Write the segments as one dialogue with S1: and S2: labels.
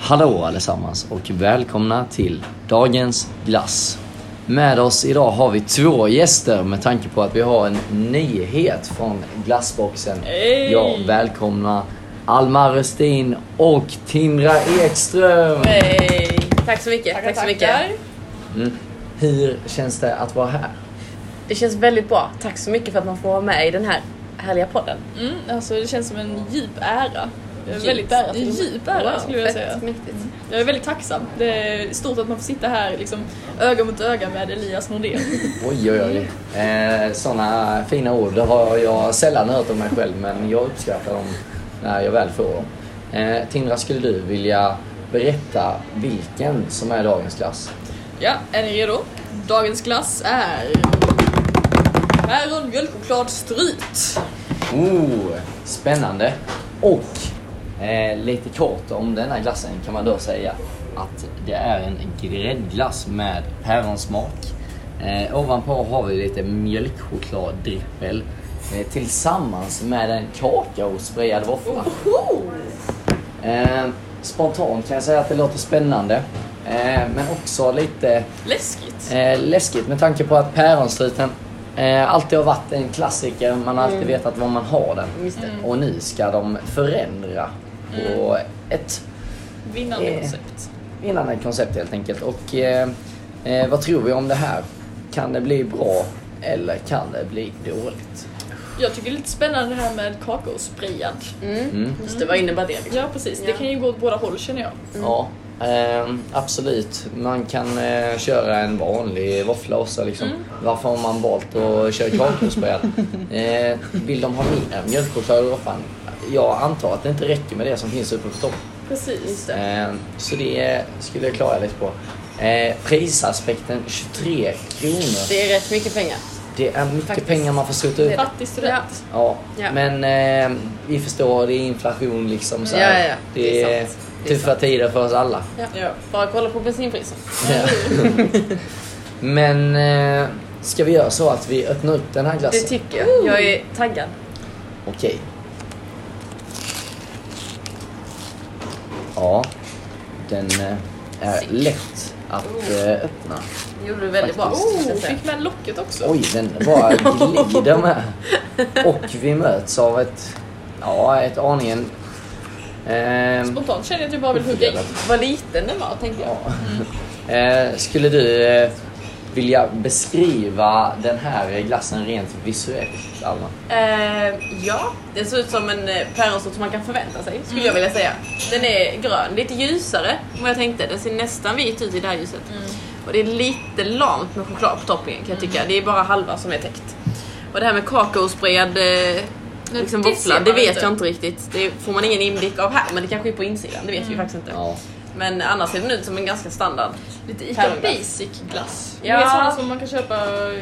S1: Hallå allesammans och välkomna till dagens glass. Med oss idag har vi två gäster med tanke på att vi har en nyhet från glassboxen.
S2: Hey!
S1: Jag välkomnar Alma Röstin och Tindra Ekström.
S2: Hej! Tack så mycket.
S3: Tackar,
S2: tack så
S3: tackar.
S2: mycket.
S1: Mm. Hur känns det att vara här?
S2: Det känns väldigt bra. Tack så mycket för att man får vara med i den här härliga podden.
S3: Mm, alltså det känns som en djup ära. Jag är
S2: Djup
S3: väldigt,
S2: ära till och med.
S3: djup ära
S2: Wow,
S3: skulle jag
S2: fett
S3: säga.
S2: mäktigt.
S3: Jag är väldigt tacksam. Det är stort att man får sitta här liksom, öga mot öga med Elias Nordén.
S1: Oj, oj, oj. Eh, Sådana fina ord det har jag sällan hört om mig själv men jag uppskattar dem när jag väl får dem. Eh, Tindra, skulle du vilja berätta vilken som är dagens glass?
S3: ja, är ni redo? Dagens glass är päron, mjölkchoklad, stryt.
S1: Oh, spännande! Och eh, lite kort om denna glassen kan man då säga att det är en gräddglass med päronsmak. Eh, ovanpå har vi lite mjölkchokladdrippel eh, tillsammans med en kakaosprayad våffla. Eh, spontant kan jag säga att det låter spännande. Eh, men också lite
S3: Läskigt.
S1: eh, läskigt med tanke på att päronstruten eh, alltid har varit en klassiker. Man har alltid vetat var man har den.
S2: Mm. Just det. Mm.
S1: Och nu ska de förändra på ett
S3: Vinnande
S1: Eh.
S3: koncept.
S1: vinnande koncept helt enkelt. Och eh, eh, vad tror vi om det här? Kan det bli bra eller kan det bli dåligt?
S3: Jag tycker det är lite spännande det här med kakosprayad.
S1: Mm.
S2: Just det, vad innebär det? Liksom?
S3: Ja precis, det
S2: Ja.
S3: kan ju gå åt båda håll känner jag.
S1: Mm. Ja, ehm, absolut. Man kan eh, köra en vanlig våffla också. Liksom.
S2: Mm.
S1: Varför har man valt att köra kakaospröd? eh, vill de ha mer mjölkchoklad eller vad fan? Jag antar att det inte räcker med det som finns uppe på topp.
S3: Precis.
S1: Eh, så det eh, skulle jag klara lite på. Eh, prisaspekten 23 kronor.
S2: Det är rätt mycket pengar.
S1: Det är mycket
S2: Faktiskt.
S1: pengar man får skjuta ut.
S3: Fattig student.
S1: Ja,
S2: Ja.
S1: men eh, vi förstår det är inflation liksom. Så här.
S2: Ja, ja, ja.
S1: Det
S2: Det är
S1: är,
S2: sant. Det är
S1: tuffa tider för oss alla.
S3: Ja.
S2: Bara kolla på bensinpriset.
S1: Ja. Men eh, ska vi göra så att vi öppnar upp den här
S2: Det
S1: glassen?
S2: tycker jag. Jag är typ- taggad.
S1: Okej. Ja, den eh, är lätt
S2: Oh.
S1: att eh, öppna.
S2: Det gjorde du väldigt bra.
S1: Faktiskt.
S2: måste
S3: Oh,
S2: jag säga.
S3: fick med locket också.
S1: Oj, den bara glider med. Och vi möts av ett, ja, ett aningen... ehm,
S3: Spontant känner jag att jag bara vill hugga in.
S2: Vad liten den var tänkte jag.
S1: Ja. Eh, Skulle du eh, vilja beskriva den här glassen rent visuellt, Alma?
S2: Eh, ja, den ser ut som en eh, päronsort som man kan förvänta sig skulle jag
S3: Mm.
S2: vilja säga. Den är grön, lite ljusare än vad jag tänkte. Den ser nästan vit ut i det här ljuset.
S3: Mm.
S2: Och det är lite lamt med choklad på toppingen kan jag tycka. Det är bara halva som är täckt. Och det här med kakaosprayad eh, liksom
S3: det ser
S2: våffla,
S3: man
S2: det vet
S3: inte.
S2: jag inte riktigt. Det får man ingen inblick av här, men det kanske är på insidan. Det vet
S3: Mm.
S2: vi faktiskt inte.
S1: Ja.
S2: Men annars ser den ut som en ganska standard.
S3: Lite Ica
S2: Päron.
S3: Basic glass.
S2: Ja.
S3: Det är sådana som man kan köpa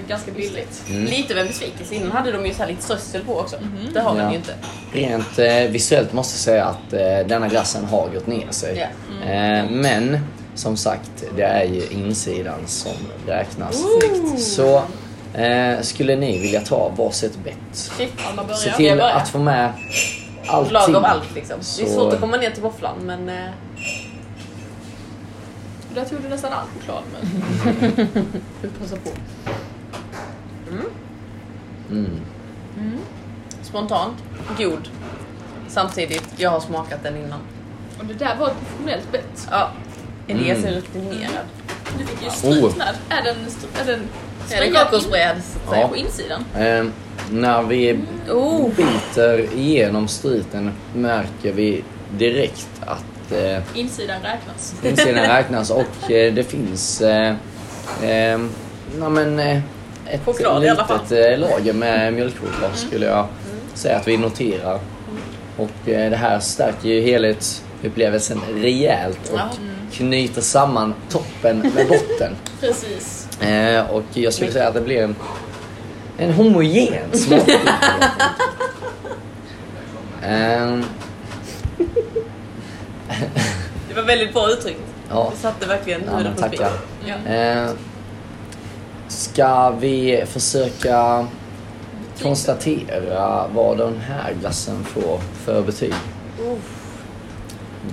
S3: ganska billigt.
S2: Lite av en besvikelse. Innan hade de ju så här lite strössel på också.
S3: Mm.
S2: Det har
S1: Ja.
S2: den ju inte.
S1: Rent eh, visuellt måste jag säga att eh, denna glassen har gått ner sig.
S2: Ja.
S1: Eh, men som sagt, det är ju insidan som räknas. Så eh, skulle ni vilja ta varsitt bett?
S3: Alma
S1: Se
S3: börjar.
S1: till
S2: jag börjar.
S1: att få med allting.
S2: Lagom allt liksom. Det är
S1: Så-
S2: svårt att komma ner till våfflan men... eh,
S3: Där tog du nästan all choklad men
S2: Vi passar på.
S1: Mm.
S2: Spontant, god. Samtidigt, jag har smakat den innan.
S3: Och det där var ett professionellt bett.
S2: Ja, Elias
S1: Mm.
S2: är rutinerad.
S3: Du fick ju
S1: Oh.
S3: stryk med. Är den, str- är
S2: Är
S3: den
S2: det
S3: sprayad in-
S2: kakosbröd? så att
S3: sprayad
S1: Ja.
S2: säga?
S3: på insidan?
S1: Eh, när vi
S2: Oh.
S1: biter igenom struten märker vi direkt att eh,
S3: Insidan räknas.
S1: insidan räknas och eh, det finns eh, eh, na, men, eh, ett
S2: Choklad i alla fall. Mm.
S1: litet eh, lager med mjölkchoklad skulle jag säga att vi noterar. Och eh, det här stärker ju helhetsupplevelsen rejält och
S2: Ja.
S1: knyter samman toppen med botten.
S3: Precis.
S1: Eh, och jag skulle säga att det blir en, en homogen smak. Ehm,
S2: Det var väldigt bra uttryckt.
S1: ja.
S2: Det satte verkligen
S1: Ja, men
S2: huvudet på
S1: tackar.
S2: spiken. Ja.
S1: Eh, ska vi försöka konstatera vad den här glassen får för betyg?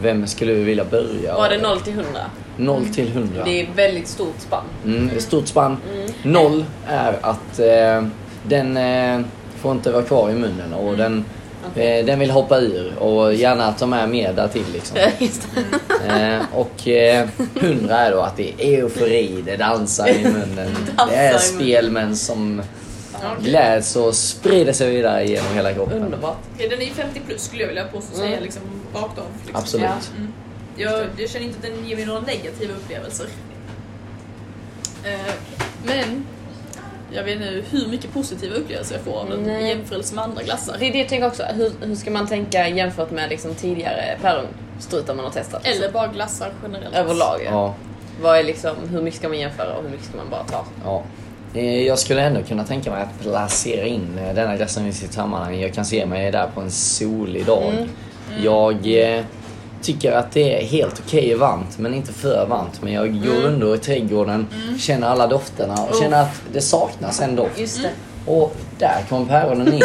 S1: Vem skulle du vilja börja?
S2: Var det 0 till 100?
S1: 0 till 100?
S2: Det är ett väldigt stort spann.
S1: Mm, ett stort spann. Noll är att eh, den eh, får inte vara kvar i munnen
S2: Mm.
S1: och den, eh, den vill hoppa ur och gärna ta med mer därtill liksom.
S2: Just det.
S1: Eh, och eh, 100 är då att det är eufori, det dansar i munnen. Det
S2: i
S1: är
S2: munnen.
S1: spel men som gläds och sprider sig vidare genom hela kroppen.
S2: Underbart.
S4: Okej, den är ju 50 plus skulle jag vilja påstå säga liksom rakt av. Liksom.
S1: Mm. Absolut.
S2: Ja.
S4: Mm. Jag, jag känner inte att den ger mig några negativa upplevelser.
S3: Eh, men jag vet nu hur mycket positiva upplevelser jag får av den
S2: Nej.
S3: i jämförelse med andra glassar.
S2: Det är det jag tänker också. Hur, hur ska man tänka jämfört med liksom tidigare päronstrutar man har testat?
S3: Eller bara glassar generellt.
S2: Överlag. Ja.
S1: Ja,
S2: Vad är liksom, hur mycket ska man jämföra och hur mycket ska man bara ta?
S1: ja. Eh, Jag skulle ändå kunna tänka mig att placera in eh, denna glassen i sitt sammanhang. Jag kan se mig där på en solig dag.
S2: Mm.
S1: Jag eh, tycker att det är helt okej varmt, men inte för varmt. Men jag går
S2: Mm.
S1: under i trädgården, känner alla dofterna och känner att det saknas en doft.
S2: Just det.
S1: Och där kom päronen in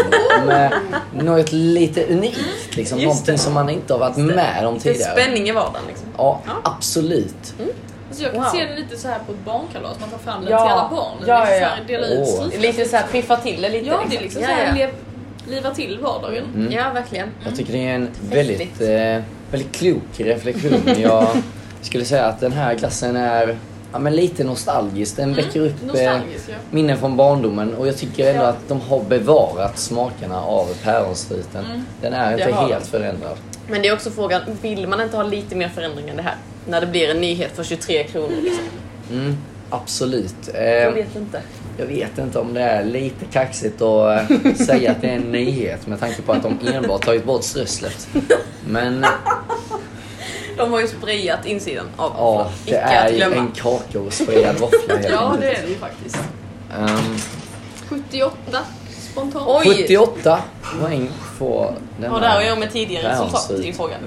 S1: med något lite unikt. Liksom,
S2: Just
S1: någonting
S2: det.
S1: som man inte har varit med om
S2: Det är
S1: tidigare.
S2: spänning i vardagen liksom.
S1: Ja, absolut.
S2: Mm.
S3: Alltså jag kan
S2: Wow.
S3: se den lite så här på ett barnkalas, man tar fram den
S2: Ja.
S3: till alla barn.
S2: Ja,
S3: liksom
S2: ja,
S3: Så här,
S2: ja.
S3: dela ut
S1: Åh.
S3: stryk.
S2: Lite så här piffa till det lite.
S3: Ja, det är liksom
S2: ja,
S3: så här,
S2: ja. Mm.
S3: lev, liva till vardagen.
S1: Mm.
S2: ja, verkligen.
S1: Jag tycker det är en väldigt, eh, väldigt klok reflektion. Jag skulle säga att den här glassen är ja, men lite nostalgisk.
S2: Mm.
S1: Den väcker upp eh,
S3: Nostalgisk, ja.
S1: minnen från barndomen och jag tycker ändå att de har bevarat smakerna av päronstruten. Den är inte
S2: Jag Mm. har
S1: helt förändrad.
S2: Men det är också frågan, vill man inte ha lite mer förändring än det här? När det blir en nyhet för 23 kronor liksom.
S1: Mm, absolut. Eh,
S2: Jag vet inte.
S1: Jag vet inte om det är lite kaxigt att eh, säga att det är en nyhet med tanke på att de enbart tagit bort strösslet. Men
S2: De har ju sprayat insidan av
S1: ja, det
S2: Icke
S1: är
S2: att
S1: ju
S2: glömma.
S1: en kaka och sprayad våffla helt
S3: Ja,
S1: enkelt.
S3: det är det ju faktiskt.
S1: Ehm,
S3: 78 spontant.
S2: Oj.
S1: 78 poäng får den
S2: Och där har jag med tidigare
S1: Där
S2: resultat
S1: ser ut.
S2: i frågan.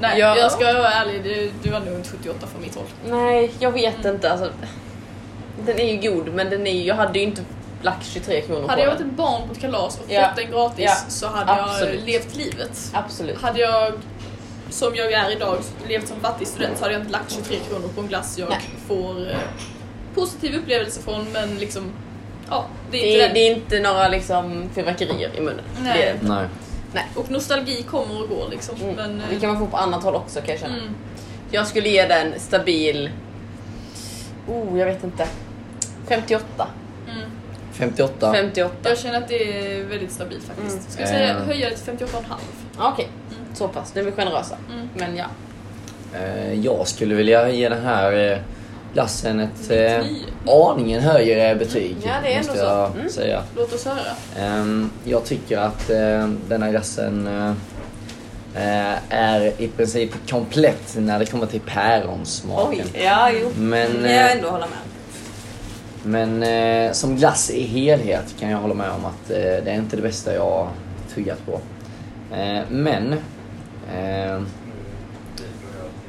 S3: Nej,
S2: Ja.
S3: jag ska vara ärlig, du, du var nog inte 78 från mitt håll.
S2: Nej, jag vet inte. Alltså, den är ju god, men den är ju, jag hade ju inte lagt 23 kronor
S3: Hade
S2: på
S3: jag varit
S2: den.
S3: ett barn på ett kalas och
S2: Ja.
S3: fått den gratis
S2: Ja.
S3: så hade
S2: Absolut.
S3: jag levt livet.
S2: Absolut.
S3: Hade jag, som jag är idag, levt som fattig student så hade jag inte lagt 23 kronor på en glass jag
S2: Nej.
S3: får eh, positiv upplevelse från men liksom, ja, det är
S2: Det
S3: inte
S2: är,
S3: den.
S2: det är inte några liksom, fyrverkerier i munnen.
S3: Nej.
S2: Det är, det.
S1: Nej.
S3: Och nostalgi kommer och går liksom. Men,
S2: mm.
S3: eh,
S2: Det kan man få på annat håll också kan jag känna.
S3: mm,
S2: Jag skulle ge den stabil... Oh, jag vet inte. 58.
S3: mm.
S1: 58.
S2: 58.
S3: Jag känner att det är väldigt stabilt faktiskt.
S2: Mm.
S3: Ska jag säga
S1: Eh.
S3: höja det till 58,5?
S2: Ja, Okej, så pass. Nu är vi generösa.
S3: Mm.
S2: Men ja.
S1: Eh, jag skulle vilja ge den här eh, glassen ett eh,
S3: 99.
S1: aningen högre betyg.
S2: Ja, det är
S1: måste
S2: ändå så. Mm.
S1: jag säga.
S3: Låt oss höra.
S1: Ehm, jag tycker att eh, den här glassen eh, eh, är i princip komplett när det kommer till päronsmaken.
S2: ja jo.
S1: Men,
S2: Det kan jag
S1: eh,
S2: ändå hålla med.
S1: Men eh, som glass i helhet kan jag hålla med om att eh, det är inte det bästa jag har tuggat på. Eh, men eh,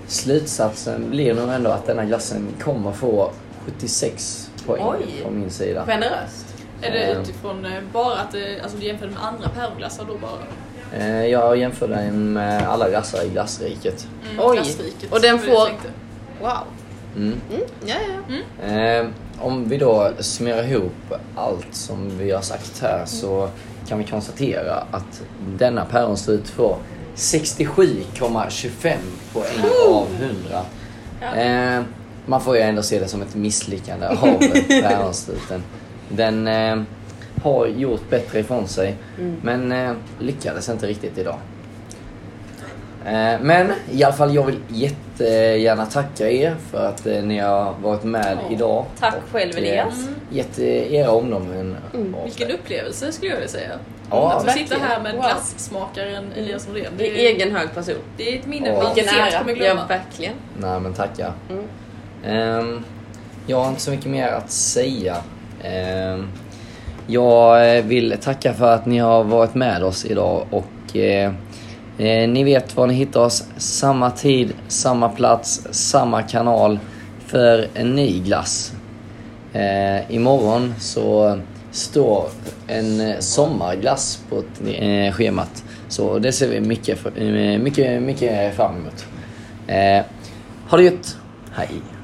S1: slutsatsen blir nog ändå att denna glassen kommer få 76 poäng
S2: Oj.
S1: från min sida.
S2: Generöst.
S3: Är det
S1: Eh.
S3: utifrån eh, bara att det, alltså du jämför det med andra päronglassar då bara?
S1: Eh, jag jämför den med alla glassar i glassriket.
S3: Mm,
S2: Oj.
S3: glassriket,
S2: Och den
S3: var det jag
S2: får-
S3: tänkte.
S2: Wow.
S1: Mm.
S2: Ja, ja.
S1: Eh, om vi då summerar ihop allt som vi har sagt här så kan vi konstatera att denna päronstrut får 67,25 poäng av 100. Eh, man får ju ändå se det som ett misslyckande av päronstruten. Den eh, har gjort bättre ifrån sig men eh, lyckades inte riktigt idag. Eh, Men i alla fall jag vill jättegärna tacka er för att eh, ni har varit med
S3: Ja,
S1: idag.
S2: tack
S1: Och,
S2: själv,
S1: eh,
S2: Elias. Mm,
S1: Gett eh, era omdömen. eh, av
S3: Vilken
S1: det.
S3: upplevelse skulle jag vilja säga.
S1: Ja,
S3: att få sitta
S2: verkligen.
S3: här med
S2: Wow.
S3: glassmakaren Elias Norén.
S2: Det är egen hög person.
S3: det är ett minne
S1: Åh.
S3: man
S2: Vilken
S3: sent
S2: ära.
S3: kommer
S2: Ja,
S3: glömma.
S2: verkligen.
S1: Nej men tacka.
S2: Mm.
S1: Ehm, jag har inte så mycket mer att säga. Ehm, jag eh, vill tacka för att ni har varit med oss idag och eh, eh, ni vet var ni hittar oss. Samma tid, samma plats, samma kanal för en ny glass. Eh, imorgon så står en eh, sommarglass på t- eh, schemat. Så det ser vi mycket, fr- eh, mycket, mycket fram emot. Eh, ha det gött! Hej!